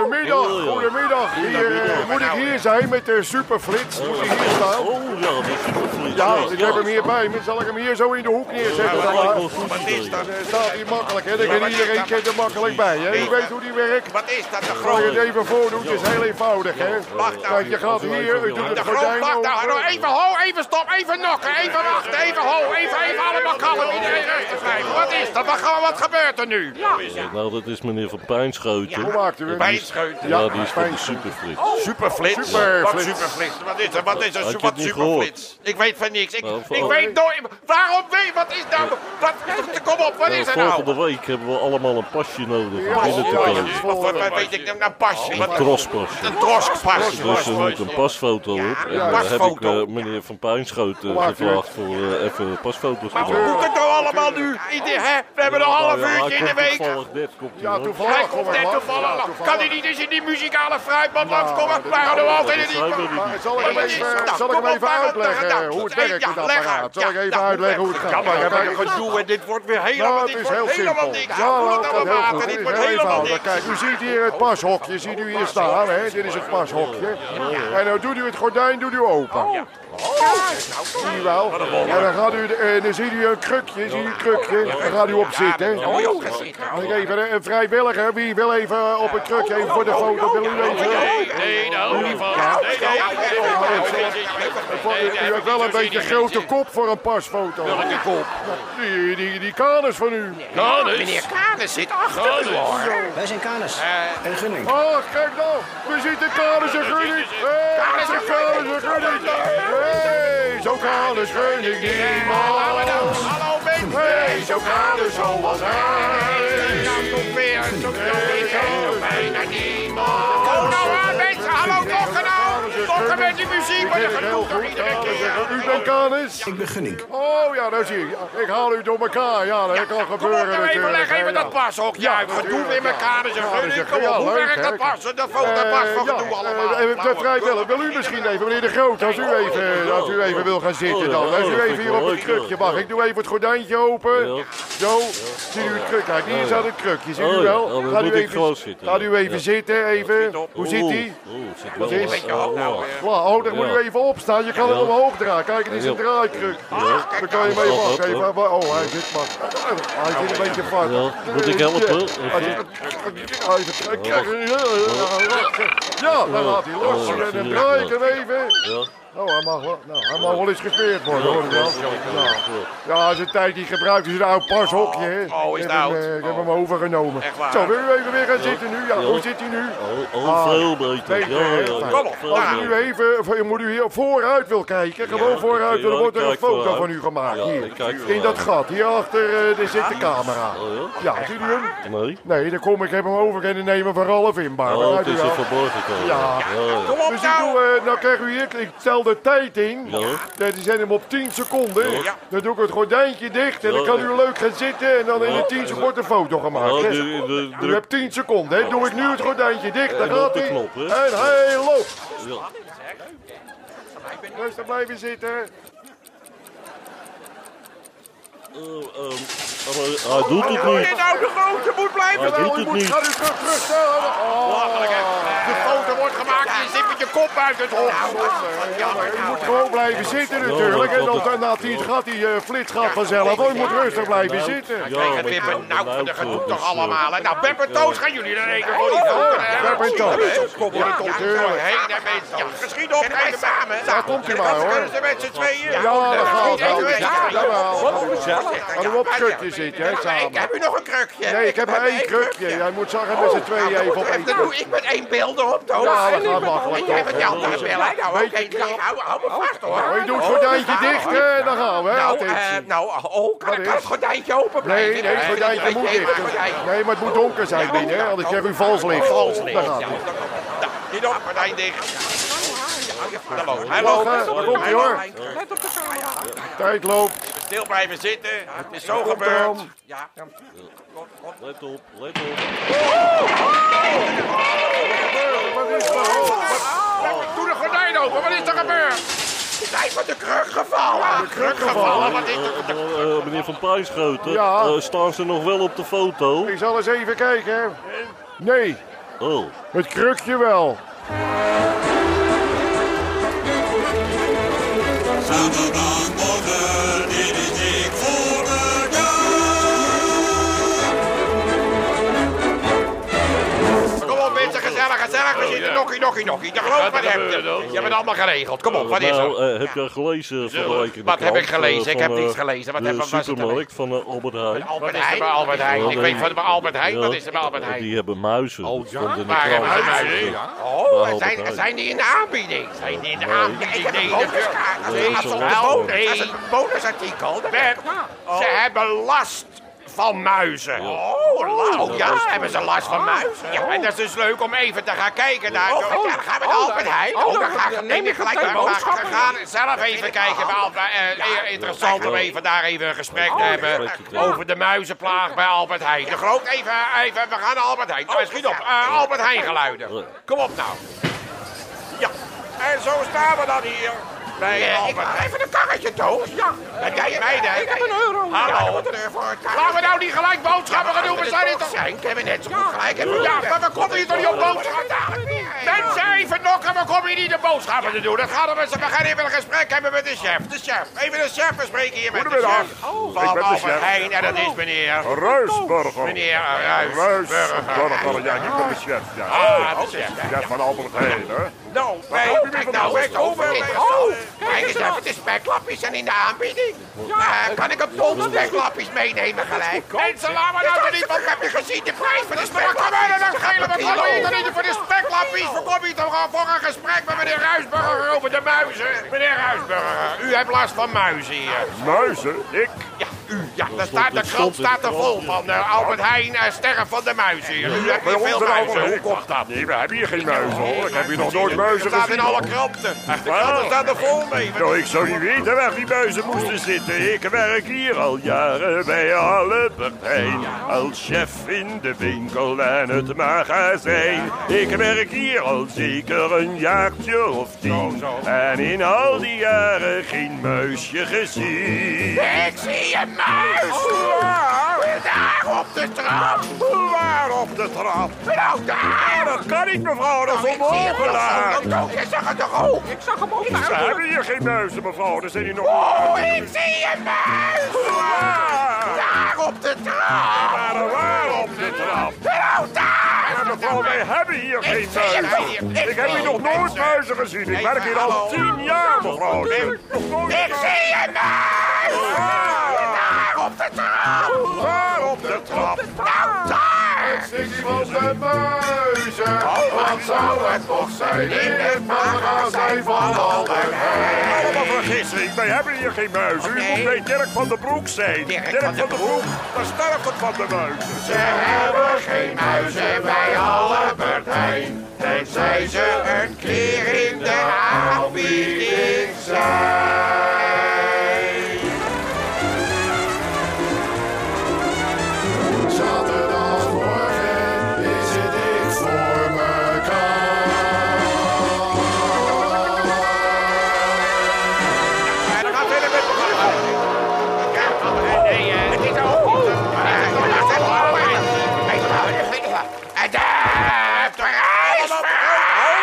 [SPEAKER 7] Goedemiddag,
[SPEAKER 3] Heel, ja.
[SPEAKER 7] goedemiddag. Hier, eh,
[SPEAKER 3] Goedemiddag.
[SPEAKER 7] moet ik hier zijn met de superflits? Moet ik hier staan?
[SPEAKER 3] Oh ja, dat is supervlieg.
[SPEAKER 7] Ja, ik heb hem hier bij me. Zal ik hem hier zo in de hoek neerzetten?
[SPEAKER 3] Dat
[SPEAKER 7] Dan
[SPEAKER 3] lijkt
[SPEAKER 7] maar?
[SPEAKER 3] wel goed.
[SPEAKER 2] Wat is dat?
[SPEAKER 7] Eh, staat hier makkelijk, hè? Dan kan iedereen kent er makkelijk bij, hè? Je weet hoe die werkt.
[SPEAKER 2] Wat is dat, de
[SPEAKER 7] Als je
[SPEAKER 2] groot?
[SPEAKER 7] het even voordoet, is heel eenvoudig, hè?
[SPEAKER 2] Wacht nou.
[SPEAKER 7] Kijk, je gaat hier, je doet
[SPEAKER 2] De
[SPEAKER 7] het
[SPEAKER 2] groot,
[SPEAKER 7] gordijn
[SPEAKER 2] wacht nou.
[SPEAKER 7] open.
[SPEAKER 2] hallo, Even ho, even stop, even nokken, even wachten, even ho, even, even allemaal kalm. Iedereen rustig blijven. Wat is dat? Wat, gaan we- wat gebeurt er nu?
[SPEAKER 3] Ja, nou, dat is meneer Van Pijnschoten.
[SPEAKER 7] Hoe maakt u
[SPEAKER 2] Bij
[SPEAKER 7] het?
[SPEAKER 2] het scheuten.
[SPEAKER 3] Ja, die is van de
[SPEAKER 7] Pijnschoten.
[SPEAKER 3] supervlieg.
[SPEAKER 2] Oh, Superflits?
[SPEAKER 7] Superflits.
[SPEAKER 2] Wat superflits? Wat is dat? Wat is
[SPEAKER 3] Had je
[SPEAKER 2] dat?
[SPEAKER 3] het
[SPEAKER 2] Wat
[SPEAKER 3] niet
[SPEAKER 2] superflits? Ik weet van niks. Ik,
[SPEAKER 3] Nou,
[SPEAKER 2] ik
[SPEAKER 3] voor-
[SPEAKER 2] weet nooit... Waarom weet... Wat is nou... Wat, kom op, wat is er
[SPEAKER 3] Nou,
[SPEAKER 2] nou?
[SPEAKER 3] volgende week hebben we allemaal een pasje nodig om
[SPEAKER 7] Ja,
[SPEAKER 3] binnen te
[SPEAKER 7] ja,
[SPEAKER 3] komen.
[SPEAKER 7] ja.
[SPEAKER 2] Wat voor- wat weet ik nou? Nou, pasje.
[SPEAKER 3] Een
[SPEAKER 2] Wat-
[SPEAKER 3] crosspasje.
[SPEAKER 2] Een troskpas.
[SPEAKER 3] Dus er moet een pasfoto op. En
[SPEAKER 2] een
[SPEAKER 3] daar heb ik
[SPEAKER 2] pasfoto.
[SPEAKER 3] eh, meneer Van Pijnschoten
[SPEAKER 7] Maakt u
[SPEAKER 3] gevraagd voor eh, even pasfoto's te
[SPEAKER 2] Maar hoe
[SPEAKER 3] maken.
[SPEAKER 2] moet het nou allemaal nu? Ieder- hè? We hebben een half uurtje in de week.
[SPEAKER 3] Toevallig net komt hij
[SPEAKER 7] Ja,
[SPEAKER 3] langs.
[SPEAKER 7] toevallig.
[SPEAKER 2] Hij komt
[SPEAKER 7] hoor,
[SPEAKER 2] net
[SPEAKER 7] man. Ja,
[SPEAKER 2] toevallig. Kan hij niet eens in die muzikale fruitband langskomen? Wij gaan nu altijd in
[SPEAKER 3] Dat zijn we
[SPEAKER 2] die...
[SPEAKER 3] nu
[SPEAKER 7] Maar
[SPEAKER 3] niet.
[SPEAKER 7] zal ik
[SPEAKER 2] Maar
[SPEAKER 7] hem
[SPEAKER 2] wat is
[SPEAKER 7] even,
[SPEAKER 2] dat?
[SPEAKER 7] zal ik hem
[SPEAKER 2] Kom op,
[SPEAKER 7] even
[SPEAKER 2] waar-
[SPEAKER 7] uitleggen
[SPEAKER 2] nou,
[SPEAKER 7] hoe het
[SPEAKER 2] ja,
[SPEAKER 7] werkt, het
[SPEAKER 2] ja, leg
[SPEAKER 7] apparaat?
[SPEAKER 2] uit.
[SPEAKER 7] Zal ik
[SPEAKER 2] Ja,
[SPEAKER 7] even
[SPEAKER 2] ja,
[SPEAKER 7] uitleggen hoe het
[SPEAKER 2] ja,
[SPEAKER 7] gaat?
[SPEAKER 2] maar
[SPEAKER 7] Ja,
[SPEAKER 2] hebben
[SPEAKER 7] kijk,
[SPEAKER 2] we gedoe en dit wordt weer helemaal
[SPEAKER 7] Nou, het
[SPEAKER 2] niks.
[SPEAKER 7] is
[SPEAKER 2] wordt
[SPEAKER 7] heel
[SPEAKER 2] helemaal
[SPEAKER 7] simpel.
[SPEAKER 2] niks.
[SPEAKER 7] Ja,
[SPEAKER 2] Hoe
[SPEAKER 7] nou,
[SPEAKER 2] het
[SPEAKER 7] dat heel
[SPEAKER 2] allemaal
[SPEAKER 7] goed.
[SPEAKER 2] gaat,
[SPEAKER 7] Het
[SPEAKER 2] dit
[SPEAKER 7] is
[SPEAKER 2] wordt
[SPEAKER 7] heel
[SPEAKER 2] helemaal
[SPEAKER 7] eenvoudig.
[SPEAKER 2] niks.
[SPEAKER 7] Kijk, u ziet hier het pashokje. Ziet u hier staan, hè? Dit is het pashokje. En dan doet u het gordijn doet u open.
[SPEAKER 2] Oh,
[SPEAKER 7] Zie je wel? En dan, gaat u, de- eh, dan ziet u een krukje, ziet u een krukje. Dan gaat u op zitten.
[SPEAKER 2] Ja, mooi opgezitten.
[SPEAKER 7] Kijk even, eh, een vrijwilliger, wie wil even op het krukje, even
[SPEAKER 2] Oh,
[SPEAKER 7] voor de foto, wil u even?
[SPEAKER 6] Nee, nee, daar hou ik niet van. Nee, nee, nee, nee.
[SPEAKER 7] U hebt wel een beetje een grote kop voor een pasfoto. Welke kop? Die, die, die kanus van u.
[SPEAKER 6] Kanus,
[SPEAKER 2] Meneer Kanen zit achter u,
[SPEAKER 6] kanus.
[SPEAKER 2] hoor.
[SPEAKER 4] Wij zijn Canis.
[SPEAKER 2] Eh.
[SPEAKER 4] en Gunning.
[SPEAKER 7] Oh, kijk nou, we zien de Karel en Gunning. Hé,
[SPEAKER 2] Karel
[SPEAKER 7] dat is
[SPEAKER 2] en
[SPEAKER 7] een Karel en Gunning. Hé, zo Karel en Gunning niemand.
[SPEAKER 2] Hallo, Ben.
[SPEAKER 7] Hé, zo Karel zoals hij.
[SPEAKER 2] Nou, toch weer. Toch weer.
[SPEAKER 7] Karel
[SPEAKER 2] Bijna niemand.
[SPEAKER 7] Oh,
[SPEAKER 2] Kom nou aan, mensen. Hallo, dokken nou. Dokken met die muziek. Maar
[SPEAKER 7] Ik
[SPEAKER 2] dat
[SPEAKER 7] ben heel
[SPEAKER 2] gedoe toch
[SPEAKER 7] goed,
[SPEAKER 2] iedere
[SPEAKER 7] Karel en
[SPEAKER 2] keer.
[SPEAKER 7] Gunning. U bent Karels?
[SPEAKER 8] Ik ben Gunning.
[SPEAKER 7] Oh ja, daar zie ik. Ja, Ik haal u door elkaar. Ja, dat kan
[SPEAKER 2] Kom op,
[SPEAKER 7] gebeuren
[SPEAKER 2] nou even,
[SPEAKER 7] natuurlijk.
[SPEAKER 2] leg
[SPEAKER 7] hè,
[SPEAKER 2] even
[SPEAKER 7] ja.
[SPEAKER 2] dat pashok. Ja,
[SPEAKER 7] Ja,
[SPEAKER 2] gedoe
[SPEAKER 7] natuurlijk,
[SPEAKER 2] in mijn
[SPEAKER 7] ja.
[SPEAKER 2] kaders en
[SPEAKER 7] Ja, dat is
[SPEAKER 2] gunning.
[SPEAKER 7] echt-
[SPEAKER 2] Kom
[SPEAKER 7] ja,
[SPEAKER 2] op, hoe
[SPEAKER 7] leuk,
[SPEAKER 2] werkt
[SPEAKER 7] hè,
[SPEAKER 2] dat
[SPEAKER 7] kijk.
[SPEAKER 2] passen? Dat voelt dat
[SPEAKER 7] Eh,
[SPEAKER 2] pas van
[SPEAKER 7] ja,
[SPEAKER 2] gedoe allemaal.
[SPEAKER 7] eh, eh,
[SPEAKER 2] Flauwe-
[SPEAKER 7] De vrijwillig, wil u misschien even, meneer De Groot, als u
[SPEAKER 2] oh,
[SPEAKER 7] even, als u even wil gaan
[SPEAKER 3] Oh,
[SPEAKER 7] zitten dan. Als u even hier op het krukje mag. Ik doe even het gordijntje
[SPEAKER 3] Ja.
[SPEAKER 7] open. Zo, ziet u het kruk? Kijk, hier staat het krukje, ziet
[SPEAKER 3] Oh,
[SPEAKER 7] u
[SPEAKER 3] ja.
[SPEAKER 7] wel?
[SPEAKER 3] Oh, dan
[SPEAKER 7] Gaat
[SPEAKER 3] moet
[SPEAKER 7] u
[SPEAKER 3] ik gewoon
[SPEAKER 7] even,
[SPEAKER 3] zitten.
[SPEAKER 7] gaat u even
[SPEAKER 3] Ja.
[SPEAKER 7] zitten, even.
[SPEAKER 2] op.
[SPEAKER 7] Hoe zit die?
[SPEAKER 3] Oeh, oeh, zit wel
[SPEAKER 7] Wat is-
[SPEAKER 3] wat-
[SPEAKER 7] Beetje
[SPEAKER 2] hoog nou,
[SPEAKER 3] oh,
[SPEAKER 2] hè.
[SPEAKER 7] Klaar, oh, dan moet
[SPEAKER 3] Ja.
[SPEAKER 7] u even opstaan. Je kan hem
[SPEAKER 3] Ja.
[SPEAKER 7] omhoog draaien. Kijk, het is een
[SPEAKER 3] Ja.
[SPEAKER 7] draaikruk.
[SPEAKER 3] Ja.
[SPEAKER 7] Dan kan je hem even
[SPEAKER 3] Ja.
[SPEAKER 7] afgeven. Maar- Oh, hij zit vast. Hij zit een beetje vast.
[SPEAKER 3] Ja, moet ik helpen?
[SPEAKER 7] Hij zit- hij zit- Ja, dan laat hij los. En dan draai ik hem even.
[SPEAKER 3] Ja.
[SPEAKER 7] Nou, hij mag wel, nou, hij mag wel eens gespeerd worden, hoor ik wel. Ja. Ja, als een tijd die gebruikt is een oud pashokje, hè.
[SPEAKER 2] Oh, is het
[SPEAKER 7] Ik heb hem,
[SPEAKER 2] oud?
[SPEAKER 7] eh, Ik heb hem overgenomen.
[SPEAKER 2] Echt waar?
[SPEAKER 7] Zo, wil u even weer gaan zitten nu? Ja, hoe zit hij nu?
[SPEAKER 3] Oh,
[SPEAKER 7] Ah,
[SPEAKER 3] oh, veel beter.
[SPEAKER 7] beter,
[SPEAKER 3] Ja, ja,
[SPEAKER 7] hè?
[SPEAKER 3] ja.
[SPEAKER 2] Kom op,
[SPEAKER 3] Veel
[SPEAKER 2] nou.
[SPEAKER 7] Als u
[SPEAKER 3] beter.
[SPEAKER 7] nu even, of je moet u hier vooruit wil kijken, gewoon vooruit,
[SPEAKER 3] ja,
[SPEAKER 7] dan wordt er
[SPEAKER 3] ik
[SPEAKER 7] een
[SPEAKER 3] kijk
[SPEAKER 7] foto
[SPEAKER 3] vooruit.
[SPEAKER 7] van u gemaakt.
[SPEAKER 3] Ja,
[SPEAKER 7] hier,
[SPEAKER 3] ik kijk
[SPEAKER 7] in
[SPEAKER 3] vooruit.
[SPEAKER 7] dat gat, hierachter eh, daar zit de camera.
[SPEAKER 3] Oh, ja?
[SPEAKER 7] Ja, ziet u hem?
[SPEAKER 3] Nee.
[SPEAKER 7] Nee, dan kom ik hem over kunnen nemen van Ralf Inbaar.
[SPEAKER 3] Oh,
[SPEAKER 7] Begrijpt
[SPEAKER 3] het
[SPEAKER 7] u
[SPEAKER 3] is
[SPEAKER 7] wel?
[SPEAKER 3] er verborgen komen.
[SPEAKER 7] Ja.
[SPEAKER 3] ja.
[SPEAKER 2] Kom op
[SPEAKER 7] Dus ik
[SPEAKER 2] nou.
[SPEAKER 7] doe, eh, nou krijg u hier, ik tel de tijd in.
[SPEAKER 3] Ja.
[SPEAKER 7] Ja, Die zijn hem op 10 seconden.
[SPEAKER 2] Ja.
[SPEAKER 7] Dan doe ik het gordijntje dicht en dan
[SPEAKER 3] Ja.
[SPEAKER 7] kan u leuk gaan zitten en dan in de
[SPEAKER 3] Ja.
[SPEAKER 7] 10 seconden een foto gemaakt.
[SPEAKER 3] Oh,
[SPEAKER 7] hè?
[SPEAKER 3] de- de-
[SPEAKER 7] U
[SPEAKER 3] druk.
[SPEAKER 7] hebt 10 seconden, hè? Doe ik nu het gordijntje dicht, dan
[SPEAKER 3] En op
[SPEAKER 7] gaat
[SPEAKER 3] Eh, de
[SPEAKER 7] hij.
[SPEAKER 3] knop, hè?
[SPEAKER 7] En hij loopt.
[SPEAKER 3] Ja.
[SPEAKER 7] Rustig blijven zitten.
[SPEAKER 3] Oh, ehm, maar Hij
[SPEAKER 7] Oh,
[SPEAKER 3] doet het
[SPEAKER 2] Hoe dit
[SPEAKER 3] niet.
[SPEAKER 2] nou de grote moet blijven?
[SPEAKER 3] Hij doet
[SPEAKER 7] u
[SPEAKER 3] het
[SPEAKER 7] moet,
[SPEAKER 3] niet.
[SPEAKER 7] gaat u Oh, terug, terug staan.
[SPEAKER 2] Belachelijk, hè?
[SPEAKER 7] eh,
[SPEAKER 2] De foto wordt gemaakt en je zit met je kop uit het hok.
[SPEAKER 7] U moet gewoon blijven zitten natuurlijk. En dan, dan na 10 gaat die eh, flits gaat vanzelf. Oh, u moet rustig blijven zitten.
[SPEAKER 2] Ik kreeg het
[SPEAKER 3] maar
[SPEAKER 2] weer
[SPEAKER 3] ik ben
[SPEAKER 2] benauwd van de
[SPEAKER 3] benauwd,
[SPEAKER 2] gedoe
[SPEAKER 3] eh,
[SPEAKER 2] Nou, toch
[SPEAKER 3] dus,
[SPEAKER 2] allemaal. hè? Nou, Pep en Toos gaan jullie dan even voor die foto.
[SPEAKER 7] ja, Pep en Oh, Toos.
[SPEAKER 2] Kom op,
[SPEAKER 7] Ja,
[SPEAKER 2] kom
[SPEAKER 7] ja,
[SPEAKER 2] door. Heen en mensen. Ja, Geschied op, even samen. Daar
[SPEAKER 7] komt u maar, hoor.
[SPEAKER 2] Kunnen ze met z'n tweeën?
[SPEAKER 7] Ja, dat gaat wel.
[SPEAKER 2] Even met z'n tweeën.
[SPEAKER 7] Jawel.
[SPEAKER 2] Ja,
[SPEAKER 7] Gaan we op
[SPEAKER 2] ja,
[SPEAKER 7] krukje
[SPEAKER 2] ja.
[SPEAKER 7] zitten, hè,
[SPEAKER 2] Ja,
[SPEAKER 7] samen.
[SPEAKER 2] ik- Heb u nog een krukje?
[SPEAKER 7] Nee, ik heb maar één krukje.
[SPEAKER 2] krukje.
[SPEAKER 7] Jij moet zeggen met z'n tweeën even op één
[SPEAKER 2] Dan doe
[SPEAKER 7] kruk.
[SPEAKER 2] ik met één beelden op, Toos.
[SPEAKER 7] Ja, dat
[SPEAKER 2] En
[SPEAKER 7] gaat
[SPEAKER 2] ik-
[SPEAKER 7] makkelijk,
[SPEAKER 2] En jij
[SPEAKER 7] toch?
[SPEAKER 2] met die andere bellen. Nou, oké,
[SPEAKER 7] Beetje
[SPEAKER 2] nou, hou- hou me vast, hoor.
[SPEAKER 7] Oh, je doet het gordijntje dicht hè, en dan gaan we. hè,
[SPEAKER 2] Nou,
[SPEAKER 7] attentie.
[SPEAKER 2] eh, nou, oh, kan,
[SPEAKER 7] Wat
[SPEAKER 2] kan
[SPEAKER 7] is?
[SPEAKER 2] het gordijntje open
[SPEAKER 7] Nee,
[SPEAKER 2] blijven?
[SPEAKER 7] nee, het gordijntje moet
[SPEAKER 2] Nee, maar
[SPEAKER 7] dicht.
[SPEAKER 2] gordijn-
[SPEAKER 7] Nee, maar het moet donker zijn binnen, hè, anders krijg u vals licht.
[SPEAKER 2] Vals licht.
[SPEAKER 7] Daar
[SPEAKER 2] ja,
[SPEAKER 7] gaat hij.
[SPEAKER 2] dan komt het. Nou, Niet op, gordijn dicht. Daar loopt hij. Hij
[SPEAKER 7] Wacht,
[SPEAKER 2] loopt.
[SPEAKER 7] hè, daar komt hij,
[SPEAKER 2] Hij
[SPEAKER 7] hoor.
[SPEAKER 2] loopt.
[SPEAKER 5] Let op de camera.
[SPEAKER 7] Tijd loopt.
[SPEAKER 2] Stil blijven zitten. Het is zo
[SPEAKER 7] Komt
[SPEAKER 2] gebeurd.
[SPEAKER 7] dan.
[SPEAKER 2] Ja.
[SPEAKER 3] Let op, let op.
[SPEAKER 2] Oh, van de kruk gevallen. De kruk gevallen, wat is de- de-
[SPEAKER 3] Eh, eh, meneer Van Pijschoten,
[SPEAKER 7] Ja.
[SPEAKER 3] eh, staan ze nog wel op de foto?
[SPEAKER 7] Ik zal eens even kijken. Nee,
[SPEAKER 3] Oh,
[SPEAKER 7] het krukje wel.
[SPEAKER 2] Kom op mensen, gezellig, gezellig. We zitten nokkie, nokkie, nokkie. De groot wat heb je. Je hebt het allemaal geregeld. Kom op, wat is er?
[SPEAKER 3] nou, eh, heb jij gelezen van de week in de
[SPEAKER 2] Wat heb
[SPEAKER 3] krant,
[SPEAKER 2] ik gelezen?
[SPEAKER 3] eh,
[SPEAKER 2] Ik heb
[SPEAKER 3] van, eh,
[SPEAKER 2] niks gelezen. Wat
[SPEAKER 3] de
[SPEAKER 2] heb- wat was het ermee?
[SPEAKER 3] supermarkt van eh, Albert Heijn.
[SPEAKER 2] Albert Heijn. Albert Heijn. Ik weet van bij Albert Heijn. Wat is er bij Albert Heijn?
[SPEAKER 3] Die hebben muizen. Oh, ja? in de
[SPEAKER 2] Waar hebben
[SPEAKER 3] krant.
[SPEAKER 2] ze muizen? Oh,
[SPEAKER 3] Albert
[SPEAKER 2] zijn,
[SPEAKER 3] Heijn.
[SPEAKER 2] zijn die in de aanbieding? Zijn die in de aanbieding? Nee,
[SPEAKER 3] Nee,
[SPEAKER 2] dat
[SPEAKER 3] zo
[SPEAKER 2] is
[SPEAKER 3] wel.
[SPEAKER 2] een bonusartikel. Ben, Ze hebben last van muizen. Oh, la- oh, ja, hebben ze last van muizen. Ja, en dat is dus leuk om even te gaan kijken naar... Ja, dan gaan we naar Albert Heijn.
[SPEAKER 5] oh,
[SPEAKER 2] Oh, dan
[SPEAKER 5] dan-
[SPEAKER 2] ga ik
[SPEAKER 5] dan
[SPEAKER 2] neem
[SPEAKER 5] neem
[SPEAKER 2] ik
[SPEAKER 5] ik
[SPEAKER 2] gelijk
[SPEAKER 5] een
[SPEAKER 2] de boodschappen.
[SPEAKER 5] boodschappen.
[SPEAKER 2] We gaan zelf even kijken. bij Albert- eh, eh, Interessant om even daar even een gesprek te hebben
[SPEAKER 3] gesprekje krijgen.
[SPEAKER 2] over de muizenplaag bij Albert Heijn. De groot, even, even, we gaan naar Albert Heijn. Oh, schiet op, Eh, Albert Heijn geluiden. Kom op nou. Ja, en zo staan we dan hier. Bij Albert Heijn. Even een karretje, Toos. Ja, dat jij meiden. Ik
[SPEAKER 5] heb een euro.
[SPEAKER 2] Hallo. Laten we nou niet gelijk boodschappen gaan doen, we zijn dit toch... Zijn, ik heb net zo goed gelijk. Ja, maar we komen hier toch niet op boodschappen? Mensen even nokken, we komen hier niet de boodschappen te doen. Dat gaat om, mensen. we gaan even een gesprek hebben met de chef. De chef, even de chef bespreken hier met de
[SPEAKER 7] Goedemiddag.
[SPEAKER 2] chef. Van
[SPEAKER 7] Ik ben de
[SPEAKER 2] Albert
[SPEAKER 7] chef.
[SPEAKER 2] Heijn, en dat is meneer...
[SPEAKER 7] Ruisburger.
[SPEAKER 2] Meneer eh, Ruijsburger.
[SPEAKER 7] Ruisburger, ja, ik ben de chef. Ja,
[SPEAKER 2] Ah, de chef.
[SPEAKER 7] Ja, van Albert Heijn, hè.
[SPEAKER 2] Nou, wij
[SPEAKER 7] heb je
[SPEAKER 2] kijk
[SPEAKER 7] weer
[SPEAKER 2] nou,
[SPEAKER 7] van
[SPEAKER 2] eens over. Oh, kijk eens even, de speklapjes zijn in de aanbieding. Eh, kan ik een ton speklapjes meenemen gelijk? Mensen, laat maar nou toch niet, want heb je gezien de prijs van de speklapjes? Maar kan mij nou schelen, wat gaan we hier dan niet voor de speklapjes? We komen hier toch al voor een gesprek met meneer Ruisburger over de muizen? Meneer Ruisburger, u hebt last van muizen hier.
[SPEAKER 7] Muizen, ik.
[SPEAKER 2] Ja, u, ja, daar staat, de
[SPEAKER 3] dat
[SPEAKER 2] krant
[SPEAKER 3] stond in de
[SPEAKER 2] staat er vol van. eh, Albert Heijn, eh, sterren van de muizen hier. U hebt
[SPEAKER 7] Bij
[SPEAKER 2] hier
[SPEAKER 7] ons
[SPEAKER 2] veel
[SPEAKER 7] in Albert
[SPEAKER 2] muizen.
[SPEAKER 7] Heijn komt dat niet. We hebben hier geen muizen, hoor. Ik heb hier nog nooit
[SPEAKER 2] Het
[SPEAKER 7] muizen
[SPEAKER 2] staat in
[SPEAKER 7] gezien.
[SPEAKER 2] alle kranten. De
[SPEAKER 7] waar?
[SPEAKER 2] kranten staan er vol mee. dus.
[SPEAKER 7] Nou, ik zou niet weten waar die muizen moesten zitten. Ik werk hier al jaren bij Albert Heijn. Als chef in de winkel en het magazijn. Ik werk hier al zeker een jaartje of tien. En in al die jaren geen muisje gezien.
[SPEAKER 2] Ik zie een muis!
[SPEAKER 7] Oh,
[SPEAKER 2] Daar op de trap!
[SPEAKER 7] Waar op de trap?
[SPEAKER 2] Nou, daar! Nou,
[SPEAKER 7] Dat kan niet, mevrouw. Dat is
[SPEAKER 2] Opgeladen!
[SPEAKER 7] omhoog
[SPEAKER 2] Dat je zag het toch ook?
[SPEAKER 5] Ik zag hem ook
[SPEAKER 7] We
[SPEAKER 5] daar.
[SPEAKER 7] hebben hier geen muizen, mevrouw. Er zijn hier nog...
[SPEAKER 2] Oh, ik zie een muis! Daar op de trap!
[SPEAKER 7] Maar waar op de trap?
[SPEAKER 2] Nou, daar!
[SPEAKER 7] Ja, mevrouw, wij hebben hier geen
[SPEAKER 2] zie het niet.
[SPEAKER 7] muizen.
[SPEAKER 2] Ik
[SPEAKER 7] Ik heb
[SPEAKER 2] zie
[SPEAKER 7] hier nog
[SPEAKER 2] het
[SPEAKER 7] nooit
[SPEAKER 2] niet.
[SPEAKER 7] muizen gezien. Ik werk hier al
[SPEAKER 2] hallo.
[SPEAKER 7] tien jaar, mevrouw. Ik heb nog nooit
[SPEAKER 2] Ik zie een muis! Daar op de trap!
[SPEAKER 7] Waar op de trap?
[SPEAKER 2] Nou, daar!
[SPEAKER 1] Ik zie van de muizen. Wat zou het toch zijn in het magazijn van Albert Heijn?
[SPEAKER 7] Allemaal vergissing. Wij hebben hier geen muizen. U moet bij Dirk van den Broek zijn.
[SPEAKER 2] Dirk
[SPEAKER 7] Dirk
[SPEAKER 2] van
[SPEAKER 7] van
[SPEAKER 2] den
[SPEAKER 7] den Broek, daar sterft het van de muizen.
[SPEAKER 1] Ze hebben geen muizen bij Albert Heijn. Tenzij ze een keer in de aanbieding zijn. Zaterdagmorgen is het dik voor mekaar.
[SPEAKER 2] En dan gaat verder met het programma. Ja, nee, eh, het is al. Oh, dat is al. Weet je wel, dat weet je wel. En daar, de reis. oh, eh.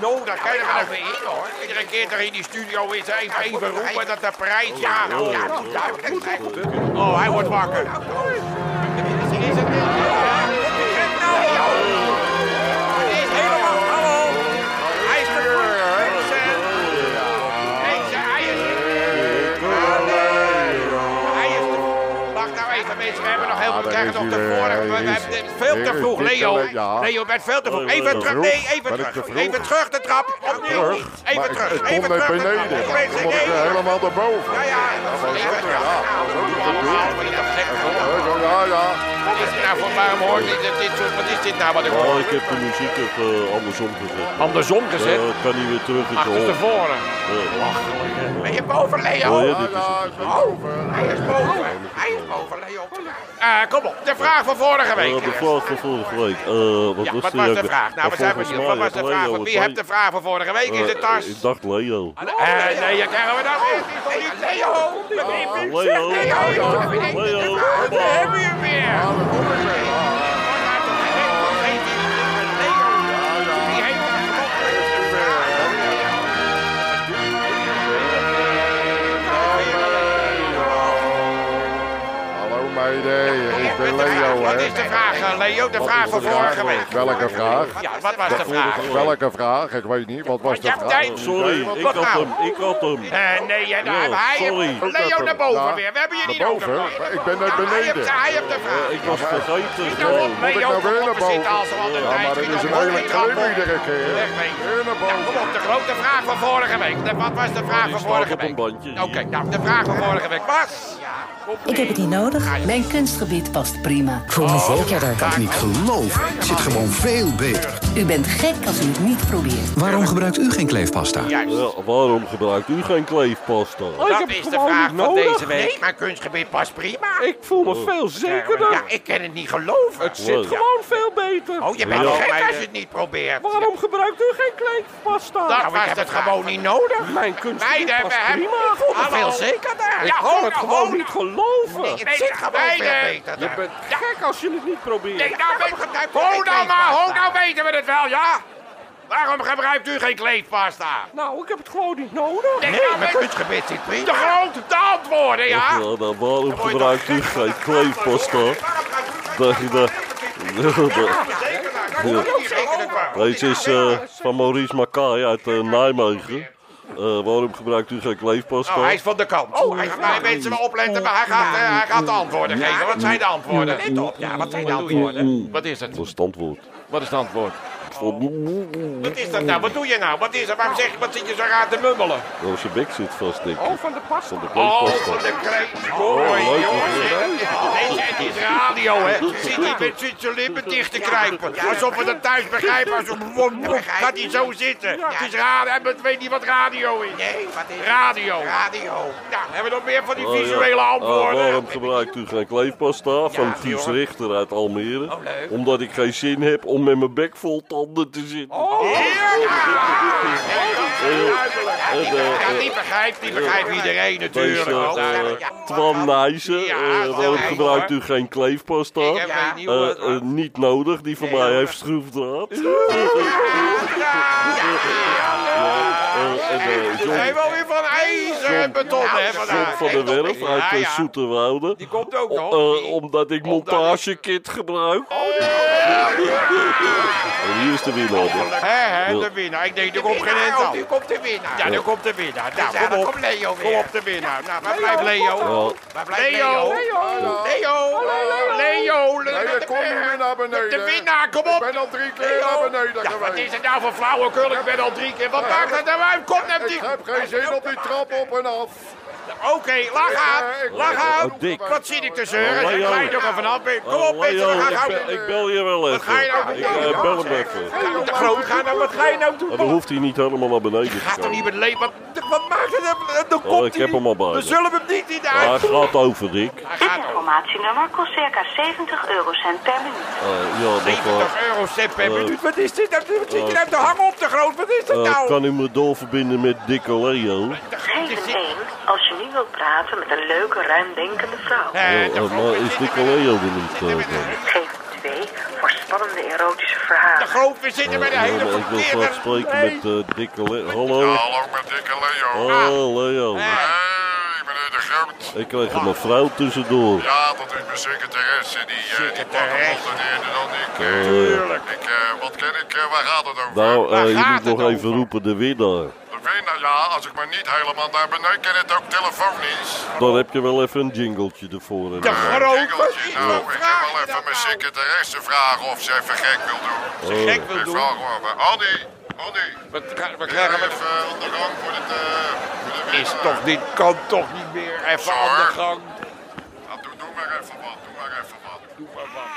[SPEAKER 2] Nou, dat kan je wel even in, hoor. Iedere keer dat hij in die studio is, even, even roepen dat de prijs... Ja, ja, ja, Oh, hij wordt wakker. Hij is verkocht. Deze Wacht nou even, mensen. We hebben nog heel veel. We
[SPEAKER 1] Ah, daar
[SPEAKER 2] krijgen
[SPEAKER 1] is
[SPEAKER 2] nog
[SPEAKER 1] hij
[SPEAKER 2] de
[SPEAKER 1] weer.
[SPEAKER 2] vorige.
[SPEAKER 1] Hij
[SPEAKER 2] We
[SPEAKER 1] is-
[SPEAKER 2] hebben veel te
[SPEAKER 1] Dit-
[SPEAKER 2] vroeg,
[SPEAKER 1] dit
[SPEAKER 2] Leo.
[SPEAKER 1] kan ik- ja.
[SPEAKER 2] Leo bent veel te vroeg.
[SPEAKER 3] ben
[SPEAKER 2] Even
[SPEAKER 3] ik
[SPEAKER 2] terug.
[SPEAKER 1] vroeg?
[SPEAKER 2] Nee, even
[SPEAKER 1] Ben ik
[SPEAKER 2] terug.
[SPEAKER 1] te vroeg?
[SPEAKER 2] Even terug de trap. Opnieuw
[SPEAKER 1] Terug?
[SPEAKER 2] niet. Even
[SPEAKER 1] Maar
[SPEAKER 2] terug.
[SPEAKER 1] Het, het
[SPEAKER 2] even
[SPEAKER 1] komt net
[SPEAKER 2] terug de trap.
[SPEAKER 1] beneden.
[SPEAKER 2] Ik weet
[SPEAKER 1] Dan
[SPEAKER 2] het
[SPEAKER 1] moet ik
[SPEAKER 2] niet.
[SPEAKER 1] er helemaal naar boven.
[SPEAKER 2] Ja, ja.
[SPEAKER 1] dat is ook weer, ja. Dat is ook weer
[SPEAKER 2] Allemaal, wat je dat zegt.
[SPEAKER 1] Ja, ja. ja.
[SPEAKER 2] Wat is er nou voor waarom hoor ik dit, dit soort, wat is dit nou wat ik hoor?
[SPEAKER 3] Oh, ik heb de muziek even eh, andersom gezet.
[SPEAKER 6] Andersom gezet.
[SPEAKER 3] Eh, kan niet weer terug in de
[SPEAKER 6] Achter
[SPEAKER 3] hol.
[SPEAKER 6] tevoren.
[SPEAKER 2] Ben je boven Leo?
[SPEAKER 3] Oh ja, dit is
[SPEAKER 7] Ja, ik ben
[SPEAKER 2] Oh,
[SPEAKER 7] boven.
[SPEAKER 2] hij is boven. Hij is boven Leo.
[SPEAKER 6] Eh, kom op.
[SPEAKER 2] De vraag van vorige
[SPEAKER 3] eh,
[SPEAKER 2] week.
[SPEAKER 3] de vraag van vorige week. Eh, wat
[SPEAKER 2] Ja,
[SPEAKER 3] was
[SPEAKER 2] wat
[SPEAKER 3] die
[SPEAKER 2] was
[SPEAKER 3] ook
[SPEAKER 2] de
[SPEAKER 3] weer?
[SPEAKER 2] vraag? Nou,
[SPEAKER 3] Ja,
[SPEAKER 2] we zijn
[SPEAKER 3] volgens
[SPEAKER 2] benieuwd.
[SPEAKER 3] mij
[SPEAKER 2] Wat was de
[SPEAKER 3] had
[SPEAKER 2] vraag?
[SPEAKER 3] Leo
[SPEAKER 2] Want Wie
[SPEAKER 3] het
[SPEAKER 2] hebt de vraag van vorige week in
[SPEAKER 3] Eh,
[SPEAKER 2] zijn tas?
[SPEAKER 3] Ik dacht Leo.
[SPEAKER 6] Eh, nee, je krijgt we nou weer.
[SPEAKER 2] Hey, Leo!
[SPEAKER 3] Leo! Leo!
[SPEAKER 2] joh, dat is
[SPEAKER 3] Leo!
[SPEAKER 2] Daar hebben we hem weer!
[SPEAKER 7] Ja, daar kom ik weer. Ah, Hallo meiden, ik ben Leo
[SPEAKER 2] Wat is
[SPEAKER 7] hè.
[SPEAKER 2] de vraag, eh, Leo? De vraag van vorige week.
[SPEAKER 7] Welke vraag?
[SPEAKER 2] Ja, wat was de vraag?
[SPEAKER 7] Welke vraag? Ik weet niet, wat was de
[SPEAKER 2] Ja,
[SPEAKER 7] vraag?
[SPEAKER 2] jij-
[SPEAKER 3] Sorry, ik had
[SPEAKER 2] nou?
[SPEAKER 3] hem. Ik had hem.
[SPEAKER 2] Eh, nee, jij- nou,
[SPEAKER 3] Ja,
[SPEAKER 2] hij
[SPEAKER 3] sorry.
[SPEAKER 2] Leo naar boven
[SPEAKER 7] Ja,
[SPEAKER 2] weer. We hebben je
[SPEAKER 7] naar
[SPEAKER 2] niet nodig.
[SPEAKER 7] boven?
[SPEAKER 2] hoor.
[SPEAKER 7] Ik ben net
[SPEAKER 2] Ja, Hij
[SPEAKER 7] beneden.
[SPEAKER 2] heeft, hij heeft de vraag.
[SPEAKER 3] Ik was vergeten.
[SPEAKER 2] Nou,
[SPEAKER 3] gewoon.
[SPEAKER 2] op, mee,
[SPEAKER 7] ik
[SPEAKER 2] joh,
[SPEAKER 7] nou
[SPEAKER 2] kom
[SPEAKER 7] weer
[SPEAKER 2] op,
[SPEAKER 7] naar
[SPEAKER 2] we zitten
[SPEAKER 7] boven?
[SPEAKER 2] al zo altijd.
[SPEAKER 7] Ja, maar dit is een hele klim iedere keer. Weer naar
[SPEAKER 2] Nou, kom
[SPEAKER 7] boven.
[SPEAKER 2] op, de grote vraag van vorige week. De- Wat was de vraag
[SPEAKER 3] Die
[SPEAKER 2] van
[SPEAKER 3] staat
[SPEAKER 2] vorige
[SPEAKER 3] op een
[SPEAKER 2] week?
[SPEAKER 3] bandje.
[SPEAKER 2] Oké, nou, de vraag van vorige week was...
[SPEAKER 8] Ik heb het niet nodig. Mijn kunstgebied past prima.
[SPEAKER 9] Voel
[SPEAKER 10] Oh,
[SPEAKER 9] me zekerder.
[SPEAKER 2] Kan
[SPEAKER 10] Niet geloven. Het zit gewoon veel beter.
[SPEAKER 8] U bent gek als u het niet probeert.
[SPEAKER 10] Waarom gebruikt u geen kleefpasta?
[SPEAKER 2] Juist.
[SPEAKER 3] Ja, waarom gebruikt u geen kleefpasta?
[SPEAKER 5] Oh, ik
[SPEAKER 2] Dat
[SPEAKER 5] heb het
[SPEAKER 2] is de
[SPEAKER 5] gewoon
[SPEAKER 2] vraag
[SPEAKER 5] niet
[SPEAKER 2] van
[SPEAKER 5] nodig.
[SPEAKER 2] deze week. Nee, mijn kunstgebied past prima.
[SPEAKER 5] Ik voel me veel
[SPEAKER 2] Ja,
[SPEAKER 5] zekerder.
[SPEAKER 2] ik kan het niet geloven.
[SPEAKER 5] Het zit gewoon veel beter.
[SPEAKER 2] Oh, je bent
[SPEAKER 3] Ja.
[SPEAKER 2] gek als je het niet probeert.
[SPEAKER 5] Waarom gebruikt u geen kleefpasta?
[SPEAKER 2] Nou, ik heb het gewoon niet nodig.
[SPEAKER 5] Mijn kunst
[SPEAKER 2] Meiden, we
[SPEAKER 5] past
[SPEAKER 2] hebben...
[SPEAKER 5] prima.
[SPEAKER 2] Ik voel me veel zekerder. Ja,
[SPEAKER 5] Ik kan
[SPEAKER 2] ho,
[SPEAKER 5] het
[SPEAKER 2] nou,
[SPEAKER 5] gewoon
[SPEAKER 2] ho.
[SPEAKER 5] niet geloven.
[SPEAKER 2] Het zit gewoon veel
[SPEAKER 6] meiden.
[SPEAKER 2] beter.
[SPEAKER 5] Je
[SPEAKER 2] daar.
[SPEAKER 5] bent gek als je het niet
[SPEAKER 6] Nee,
[SPEAKER 5] probeert.
[SPEAKER 6] nou weet... Ho nou maar, ho nou weten we het wel, ja? Waarom gebruikt u geen kleefpasta?
[SPEAKER 5] Nou, ik heb het gewoon niet nodig.
[SPEAKER 6] Nee,
[SPEAKER 2] Nee,
[SPEAKER 6] nou
[SPEAKER 2] mijn
[SPEAKER 6] weet...
[SPEAKER 2] kunstgebied zit prima.
[SPEAKER 6] De grote de antwoorden,
[SPEAKER 2] Ah!
[SPEAKER 3] Ja,
[SPEAKER 6] ja?
[SPEAKER 3] nou, waarom gebruikt u geen kleefpasta? Dat je dat... Deze is eh, van Maurice Makai uit eh, Nijmegen. Eh, waarom gebruikt u geen kleefpasta?
[SPEAKER 2] Oh, hij is van de kant. Oh, hij gaat bij mensen wel opletten, maar hij gaat, eh, hij gaat de antwoorden geven. Wat zijn de antwoorden? Let op, ja, wat zijn de antwoorden? Wat is het?
[SPEAKER 3] Dat is het antwoord.
[SPEAKER 2] Wat is het antwoord?
[SPEAKER 3] Van
[SPEAKER 2] Wat is dat nou? Wat doe je nou? Wat is er? Waarom zeg je, wat zit je zo raar te mummelen?
[SPEAKER 3] Oh, zijn bek zit vast, denk
[SPEAKER 5] Oh,
[SPEAKER 3] ik.
[SPEAKER 5] van de pasta.
[SPEAKER 3] Van de
[SPEAKER 2] Oh,
[SPEAKER 3] kleefpasta.
[SPEAKER 2] wat een kreet.
[SPEAKER 3] Oh, leuk, hoor.
[SPEAKER 2] Mooi, jongens. Deze, het is radio, hè. Zit hij met zit zijn lippen dicht te kruipen. Alsof we dat thuis begrijpen. Als een wom, wom, gaat hij zo zitten.
[SPEAKER 6] Het is radio, en het weet niet wat radio is.
[SPEAKER 2] Nee, wat is
[SPEAKER 6] Radio.
[SPEAKER 2] Radio.
[SPEAKER 6] Nou, hebben we nog meer van die
[SPEAKER 3] Oh, ja.
[SPEAKER 6] visuele
[SPEAKER 3] Ah,
[SPEAKER 6] antwoorden?
[SPEAKER 3] waarom gebruikt u geen kleefpasta van Guus
[SPEAKER 2] joh.
[SPEAKER 3] Richter uit Almere?
[SPEAKER 2] leuk.
[SPEAKER 3] Omdat ik geen zin heb om met mijn bek vol tanden te zitten.
[SPEAKER 2] Ja, die,
[SPEAKER 3] Eh, eh,
[SPEAKER 2] ja, die begrijpt, die begrijpt iedereen
[SPEAKER 3] Deze
[SPEAKER 2] natuurlijk. ook.
[SPEAKER 3] eh
[SPEAKER 2] Ja,
[SPEAKER 3] Twan Nijssen,
[SPEAKER 2] Ja,
[SPEAKER 3] eh,
[SPEAKER 2] zo
[SPEAKER 3] waarom
[SPEAKER 2] heet,
[SPEAKER 3] gebruikt
[SPEAKER 2] hoor.
[SPEAKER 3] u geen kleefpasta?
[SPEAKER 2] Ik heb geen nieuwe,
[SPEAKER 3] Eh,
[SPEAKER 2] het was-
[SPEAKER 3] eh, niet nodig, die van mij heeft schroefdraad. Eh, en, eh,
[SPEAKER 2] We zijn
[SPEAKER 3] John,
[SPEAKER 2] wel weer van ijzer en beton, hè,
[SPEAKER 3] John
[SPEAKER 2] vandaag.
[SPEAKER 3] van der Werf
[SPEAKER 2] Ja,
[SPEAKER 3] uit eh,
[SPEAKER 2] ja.
[SPEAKER 3] Zoeterwoude.
[SPEAKER 2] Die komt ook nog.
[SPEAKER 3] Eh,
[SPEAKER 2] Die- Oh,
[SPEAKER 3] omdat ik montagekit gebruik. En hier is de winnaar.
[SPEAKER 2] Hè, hè, de winnaar. Ik denk, er komt geen eind aan. Nu komt de winnaar. Ja, nu komt de winnaar. Nou, kom op. Leo weer. Kom op, de winnaar. Nou, waar blijft Leo?
[SPEAKER 3] Ja,
[SPEAKER 2] Waar blijft Leo? Leo! Leo!
[SPEAKER 7] Nee, ik kom niet meer naar beneden.
[SPEAKER 2] De winnaar, kom
[SPEAKER 7] Ik
[SPEAKER 2] op!
[SPEAKER 7] ben al drie keer naar beneden
[SPEAKER 2] Ja, wat is
[SPEAKER 7] geweest.
[SPEAKER 2] het nou voor flauwekul? Ik ben al drie keer. Wat maakt het nou uit? Kom nou die...
[SPEAKER 7] Ik heb geen zin op die trap op en af.
[SPEAKER 2] Oké, lach
[SPEAKER 7] Eh,
[SPEAKER 2] aan.
[SPEAKER 7] ik-
[SPEAKER 2] Lach aan.
[SPEAKER 3] Oh, dik.
[SPEAKER 2] Wat zit ik te zeuren?
[SPEAKER 3] Oh, Leo.
[SPEAKER 2] Ik leid toch er vanaf. Kom op, mensen.
[SPEAKER 3] Leo,
[SPEAKER 2] We gaan
[SPEAKER 3] Oh, ik
[SPEAKER 2] gauw.
[SPEAKER 3] be- ik bel je wel even.
[SPEAKER 2] ga je nou doen?
[SPEAKER 3] Ik eh, bel hem even.
[SPEAKER 2] Nou, De groot, ga nou. Wat ga je nou
[SPEAKER 3] Maar
[SPEAKER 2] doen?
[SPEAKER 3] dan hoeft hij niet helemaal naar beneden
[SPEAKER 2] Gaat
[SPEAKER 3] te
[SPEAKER 2] toch niet
[SPEAKER 3] komen.
[SPEAKER 2] met leed? Wat, wat maakt het? hem? eh, Dan komt
[SPEAKER 3] Oh, ik
[SPEAKER 2] hij
[SPEAKER 3] heb
[SPEAKER 2] niet.
[SPEAKER 3] hem al bij
[SPEAKER 2] We
[SPEAKER 3] me.
[SPEAKER 2] zullen hem niet in de
[SPEAKER 3] Hij
[SPEAKER 2] uit.
[SPEAKER 3] gaat over, Dick.
[SPEAKER 2] Hij
[SPEAKER 9] Dit
[SPEAKER 2] gaat al.
[SPEAKER 9] informatienummer kost circa 70 eurocent per minuut.
[SPEAKER 3] Eh, ja, dat is waar.
[SPEAKER 2] 70 eurocent per
[SPEAKER 3] Eh,
[SPEAKER 2] minuut. Wat is dit? nou? Wat zit je nou te hangen op de groot? Wat is dat
[SPEAKER 3] Eh,
[SPEAKER 2] nou?
[SPEAKER 3] Oh. kan u me doorverbinden met Dikke Leo?
[SPEAKER 9] Geef een 1 als je nu wilt praten met een leuke, ruimdenkende vrouw.
[SPEAKER 3] Ja,
[SPEAKER 2] Eh, de
[SPEAKER 3] eh,
[SPEAKER 2] groot
[SPEAKER 3] maar is
[SPEAKER 2] zit-
[SPEAKER 3] Dikke Leo er niet? eh, dan?
[SPEAKER 9] Geef een 2 voor spannende erotische
[SPEAKER 2] De
[SPEAKER 9] verhalen.
[SPEAKER 2] groot, we zitten bij de
[SPEAKER 3] Eh,
[SPEAKER 2] hele
[SPEAKER 3] ja, maar ik wil
[SPEAKER 2] verkeerde...
[SPEAKER 3] graag spreken met eh, Dikke Leo. Hallo?
[SPEAKER 6] Hallo, met dikke Leo.
[SPEAKER 3] Ah, Leo.
[SPEAKER 6] Hey, meneer de Groot.
[SPEAKER 3] Ik kreeg een mevrouw tussendoor.
[SPEAKER 6] Ja, dat is mijn secretaresse. Die, eh, die pakt hem altijd eerder dan ik. eh. Ik, eh, wat ken ik? eh, waar gaat het over?
[SPEAKER 3] Nou, eh,
[SPEAKER 2] Waar
[SPEAKER 3] je
[SPEAKER 2] gaat
[SPEAKER 3] moet nog
[SPEAKER 2] het
[SPEAKER 3] even roepen de winnaar.
[SPEAKER 6] De winnaar, nou ja, als ik maar niet helemaal naar beneden ken, het ook telefonisch.
[SPEAKER 3] Dan heb je wel even een jingletje ervoor.
[SPEAKER 2] De groot, wat
[SPEAKER 6] Engeltje,
[SPEAKER 2] is Oh,
[SPEAKER 6] nou,
[SPEAKER 2] wat
[SPEAKER 6] ik heb
[SPEAKER 2] vraag
[SPEAKER 6] wel
[SPEAKER 2] je
[SPEAKER 6] even
[SPEAKER 2] dat
[SPEAKER 6] mijn
[SPEAKER 2] nou?
[SPEAKER 6] secretaresse vragen of ze even gek wil doen.
[SPEAKER 2] Als je gek wil
[SPEAKER 6] Ik
[SPEAKER 2] doen...
[SPEAKER 6] vraag gewoon even, Annie, Annie,
[SPEAKER 2] We
[SPEAKER 6] ben jij
[SPEAKER 2] krijgen met...
[SPEAKER 6] even aan de gang voor, dit, eh voor de
[SPEAKER 2] Is
[SPEAKER 6] winnaar?
[SPEAKER 2] toch, dit kan toch niet meer. Even aan de gang.
[SPEAKER 6] Ja, doe, doe maar even wat, doe maar even wat.
[SPEAKER 2] Doe maar wat.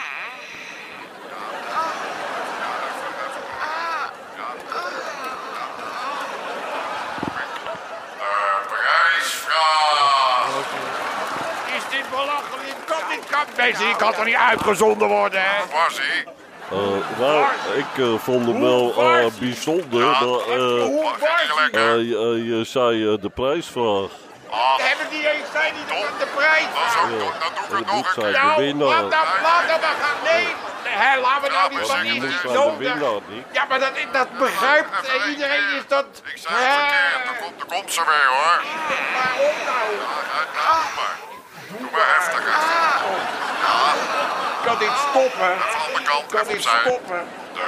[SPEAKER 2] Mensen, die kan toch niet uitgezonden worden, hè?
[SPEAKER 6] Was hij?
[SPEAKER 3] Eh, nou, ik eh, vond hem wel eh, bijzonder. dat, eh,
[SPEAKER 2] Hoe was die?
[SPEAKER 3] eh, je- eh, je zei eh, de prijsvraag.
[SPEAKER 6] Ah,
[SPEAKER 2] Hebben die eens zijn die de- de prijs?
[SPEAKER 6] dat is ook
[SPEAKER 3] Ja.
[SPEAKER 6] goed. Dan doe ik
[SPEAKER 3] En
[SPEAKER 6] het
[SPEAKER 3] de boek
[SPEAKER 6] nog een
[SPEAKER 3] zei
[SPEAKER 6] keer.
[SPEAKER 3] de
[SPEAKER 2] Nou,
[SPEAKER 3] winnaar.
[SPEAKER 2] laat dat, laat dat maar gaan. Nee, hè, laten we nou niet
[SPEAKER 6] Ja,
[SPEAKER 2] van
[SPEAKER 6] maar
[SPEAKER 2] die
[SPEAKER 3] De
[SPEAKER 6] zeg
[SPEAKER 3] boek zei
[SPEAKER 6] niet
[SPEAKER 2] zonde.
[SPEAKER 3] de winnaar, Nick.
[SPEAKER 2] Ja, maar dat, dat begrijpt
[SPEAKER 6] Even één
[SPEAKER 2] eh, iedereen
[SPEAKER 6] keer.
[SPEAKER 2] is dat.
[SPEAKER 6] Ik zei het verkeerd. Dan komt, dan komt ze weer, hoor.
[SPEAKER 2] Eh, Waarom nou?
[SPEAKER 6] Ja, ja, ja, doe maar. Doe maar heftiger.
[SPEAKER 2] Ik kan dit stoppen.
[SPEAKER 6] Even aan de
[SPEAKER 2] Ik
[SPEAKER 6] kant,
[SPEAKER 2] kan
[SPEAKER 6] even
[SPEAKER 2] dit
[SPEAKER 6] opzij.
[SPEAKER 2] stoppen.
[SPEAKER 6] De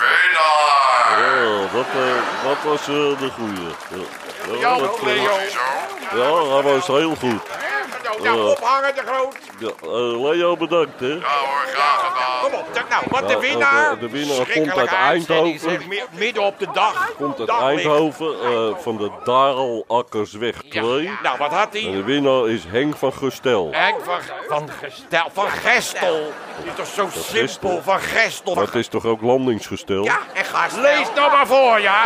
[SPEAKER 6] winnaar.
[SPEAKER 3] Ja, dat, eh, dat was eh, de goeie. Ja, ja, dat
[SPEAKER 2] Jan, oh, Leo.
[SPEAKER 3] klopt. ja, hij was heel goed.
[SPEAKER 2] Hè? Nou, nou,
[SPEAKER 3] Ja.
[SPEAKER 2] ophangen de groot.
[SPEAKER 3] Ja, eh, Leo, bedankt hè.
[SPEAKER 6] Ja hoor, graag gedaan.
[SPEAKER 2] Kom op, zeg nou. Want
[SPEAKER 3] Ja,
[SPEAKER 2] de
[SPEAKER 3] eh,
[SPEAKER 2] winnaar...
[SPEAKER 3] de- de winnaar komt
[SPEAKER 2] schrikkelijke
[SPEAKER 3] uit
[SPEAKER 2] uitzending,
[SPEAKER 3] Eindhoven.
[SPEAKER 2] zeg, mi- Midden op de dag.
[SPEAKER 3] Komt uit
[SPEAKER 2] Daglicht.
[SPEAKER 3] Eindhoven eh, van de Darelakkersweg 2.
[SPEAKER 2] Nou, wat had
[SPEAKER 3] En
[SPEAKER 2] hij?
[SPEAKER 3] de winnaar is Henk van Gestel.
[SPEAKER 2] Henk van, van, Gestel, van Gestel. Die is toch zo simpel, van Gestel.
[SPEAKER 3] Maar het is toch ook landingsgestel?
[SPEAKER 2] Ja, en gast. Lees nou maar voor, ja.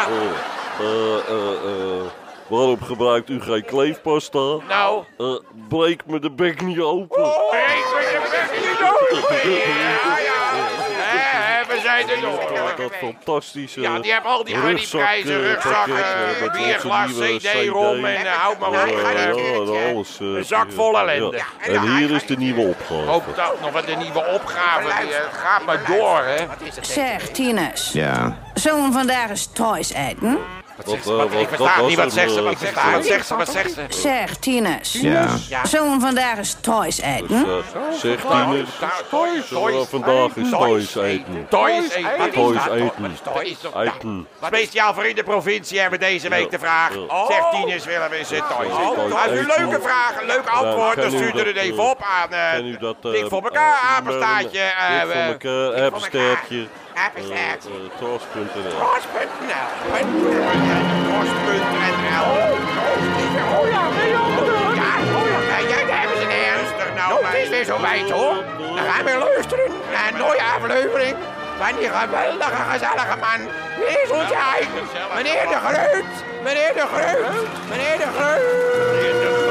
[SPEAKER 3] Eh, eh, eh, eh, waarom gebruikt u geen kleefpasta?
[SPEAKER 2] Nou, Oh.
[SPEAKER 3] Eh, breek me de bek niet open.
[SPEAKER 2] breek me de bek niet open. Ja, ja. Hè, hè, we zijn er nog.
[SPEAKER 3] Dat, dat fantastische
[SPEAKER 2] Ja, die hebben al die Arnie-prijzen,
[SPEAKER 3] rugzak,
[SPEAKER 2] rugzakken,
[SPEAKER 3] eh, pakket, eh, met
[SPEAKER 2] bierglas,
[SPEAKER 3] onze nieuwe
[SPEAKER 2] CD, rom en eh, houd maar op.
[SPEAKER 3] Ja,
[SPEAKER 2] Ja, ja.
[SPEAKER 3] ja, alles, eh,
[SPEAKER 2] Een zak vol
[SPEAKER 3] ja.
[SPEAKER 2] ellende.
[SPEAKER 3] En, hier is de nieuwe opgave.
[SPEAKER 2] Ook dat nog wat een nieuwe opgave. Die, eh, gaat maar door, hè.
[SPEAKER 8] Zeg, Tinus.
[SPEAKER 4] Ja.
[SPEAKER 8] Zullen we vandaag eens thuis eten?
[SPEAKER 3] Wat, eh,
[SPEAKER 2] Wat,
[SPEAKER 3] wat-
[SPEAKER 2] ik versta
[SPEAKER 3] was
[SPEAKER 2] niet wat
[SPEAKER 3] hem,
[SPEAKER 2] zegt ze,
[SPEAKER 3] eh,
[SPEAKER 2] wat zegt ze, wat zegt ze, wat zegt ze.
[SPEAKER 8] Zeg, Tinus.
[SPEAKER 4] Ja.
[SPEAKER 8] Zullen we vandaag eens thuis eten?
[SPEAKER 3] Dus, eh, Zeg
[SPEAKER 2] Hm?
[SPEAKER 3] Tinus, zullen we vandaag eens thuis eten?
[SPEAKER 2] Toys eten.
[SPEAKER 3] Toys
[SPEAKER 2] Wat is dat?
[SPEAKER 3] eten.
[SPEAKER 2] Wat is dat?
[SPEAKER 3] Eten.
[SPEAKER 2] Nou, Speciaal voor in de provincie hebben we deze week de vraag.
[SPEAKER 3] Oh.
[SPEAKER 2] Zegt Tinus willen we eens een toys eten. Als u
[SPEAKER 3] eten.
[SPEAKER 2] leuke vragen, leuk antwoord,
[SPEAKER 3] kan
[SPEAKER 2] dan
[SPEAKER 3] u
[SPEAKER 2] stuurt u
[SPEAKER 3] dat,
[SPEAKER 2] het even
[SPEAKER 3] eh,
[SPEAKER 2] op aan eh,
[SPEAKER 3] Ken u dat? eh,
[SPEAKER 2] Dik voor
[SPEAKER 3] eh,
[SPEAKER 2] elkaar,
[SPEAKER 3] e-mailen?
[SPEAKER 2] apenstaartje. eh,
[SPEAKER 3] Dik voor
[SPEAKER 2] eh,
[SPEAKER 3] elkaar,
[SPEAKER 2] Dik voor
[SPEAKER 3] apenstaartje.
[SPEAKER 2] elkaar, apenstaartje.
[SPEAKER 3] eh, eh, Tros.nl.
[SPEAKER 2] Ros.nl.
[SPEAKER 5] Oh ja, nee, joh.
[SPEAKER 2] Ja, eh, jij daar hebben ze ernstig nou. maar het is weer zo wijd hoor. Dan gaan we luisteren naar een nieuwe aflevering van die geweldige gezellige man. Dit is ons eigen. Meneer de Groot. Meneer de Groot. Meneer de Groot. Meneer de Groot.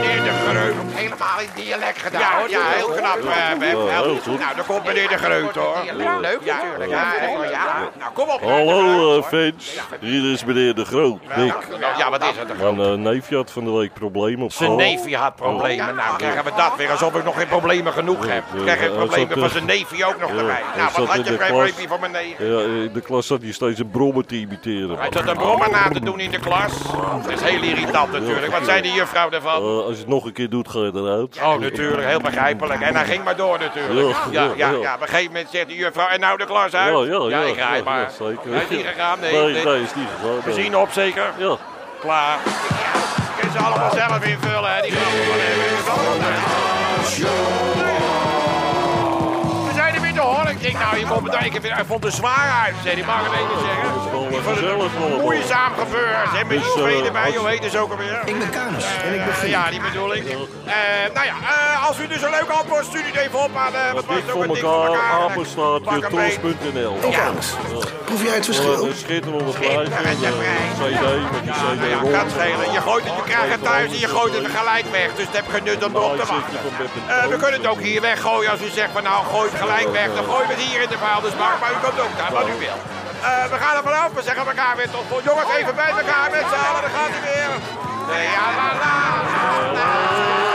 [SPEAKER 2] Meneer de Groot. Helemaal in dialect gedaan. Ja, ja heel knap. eh, Web.
[SPEAKER 3] Ja, heel
[SPEAKER 2] Help.
[SPEAKER 3] goed.
[SPEAKER 2] Nou, dan komt meneer de Groot hoor. Leuk natuurlijk. Ja, ja, ja. Nou, kom op. meneer de
[SPEAKER 3] Hallo eh,
[SPEAKER 2] Groot, hoor.
[SPEAKER 3] fans, hier is meneer De Groot, Nick.
[SPEAKER 2] Ja, wat is het?
[SPEAKER 3] Mijn eh, neefje had van de week problemen op
[SPEAKER 2] Zijn
[SPEAKER 3] school.
[SPEAKER 2] neefje
[SPEAKER 3] Oh.
[SPEAKER 2] had problemen. Nou, krijgen we dat weer alsof ik nog geen problemen genoeg heb.
[SPEAKER 3] ja,
[SPEAKER 2] Krijg ik
[SPEAKER 3] hij
[SPEAKER 2] problemen
[SPEAKER 3] zat,
[SPEAKER 2] van
[SPEAKER 3] eh,
[SPEAKER 2] zijn neefje ook nog
[SPEAKER 3] ja,
[SPEAKER 2] erbij.
[SPEAKER 3] hij
[SPEAKER 2] Nou,
[SPEAKER 3] zat
[SPEAKER 2] wat had
[SPEAKER 3] in
[SPEAKER 2] je
[SPEAKER 3] de
[SPEAKER 2] geen
[SPEAKER 3] klas.
[SPEAKER 2] probleem van mijn neef?
[SPEAKER 3] Ja, in de klas zat hij steeds een brommer te imiteren.
[SPEAKER 2] Hij zat een brommer na te doen in de klas. Dat is heel irritant natuurlijk. Wat zei de juffrouw daarvan?
[SPEAKER 3] Eh, als je het nog een keer doet, ga je eruit.
[SPEAKER 2] Oh, natuurlijk. Heel begrijpelijk. En hij ging maar door natuurlijk. Ja,
[SPEAKER 3] Ja, ja,
[SPEAKER 2] ja,
[SPEAKER 3] ja.
[SPEAKER 2] ja. Op een gegeven moment zegt de juffrouw, en nou de klas uit?
[SPEAKER 3] Ja, ja, ja.
[SPEAKER 2] ik ga
[SPEAKER 3] ja,
[SPEAKER 2] maar.
[SPEAKER 3] ja, zeker.
[SPEAKER 2] Hij is niet gegaan, nee.
[SPEAKER 3] Nee,
[SPEAKER 2] nee.
[SPEAKER 3] nee, is niet gegaan.
[SPEAKER 2] We
[SPEAKER 3] nee.
[SPEAKER 2] zien op zeker.
[SPEAKER 3] Ja.
[SPEAKER 2] Klaar. Kun ze allemaal zelf invullen, hè? Die grappen van hem. Dat is allemaal leuk. We zijn er weer te horen. Ik denk, nou, je komt meteen. Ik vind- Hij vond het een zware uitzending, mag ik het even zeggen.
[SPEAKER 3] Dat is wel,
[SPEAKER 2] Ik
[SPEAKER 3] eh,
[SPEAKER 2] vond het een
[SPEAKER 3] gezellig allemaal.
[SPEAKER 2] Moeizaam geveur. Ze hebben
[SPEAKER 3] Dus,
[SPEAKER 2] die twee
[SPEAKER 3] eh,
[SPEAKER 2] erbij.
[SPEAKER 3] als-
[SPEAKER 2] Hoe heet ze ook alweer?
[SPEAKER 10] Ik ben Kuiners.
[SPEAKER 2] Eh, ja, die bedoel ik. Eh, nou ja, eh, als u dus een leuk antwoord stuurt, u het even op aan de...
[SPEAKER 3] Ja, Dik voor elkaar, apenstaartje, tros.nl.
[SPEAKER 2] Ja.
[SPEAKER 10] Proef jij het
[SPEAKER 3] Wat
[SPEAKER 10] verschil?
[SPEAKER 3] een schitterende prijs. En
[SPEAKER 2] Schitterende
[SPEAKER 3] eh, CD met die
[SPEAKER 2] Nou ja,
[SPEAKER 3] CD-ROM.
[SPEAKER 2] kan schelen. Je gooit het, je krijgt het thuis en je gooit het gelijk weg. Dus het heb geen nut om erop te wachten. Eh, we kunnen het ook hier weggooien als u zegt van nou gooi het gelijk weg. Dan gooien we het hier in de vuilnisbak, maar u komt ook daar wat u wil. Eh, we gaan er vanaf, we zeggen elkaar weer tot vol. Jongens, even bij elkaar met z'n allen, dan gaat hij weer. Ja, la, la, la, la.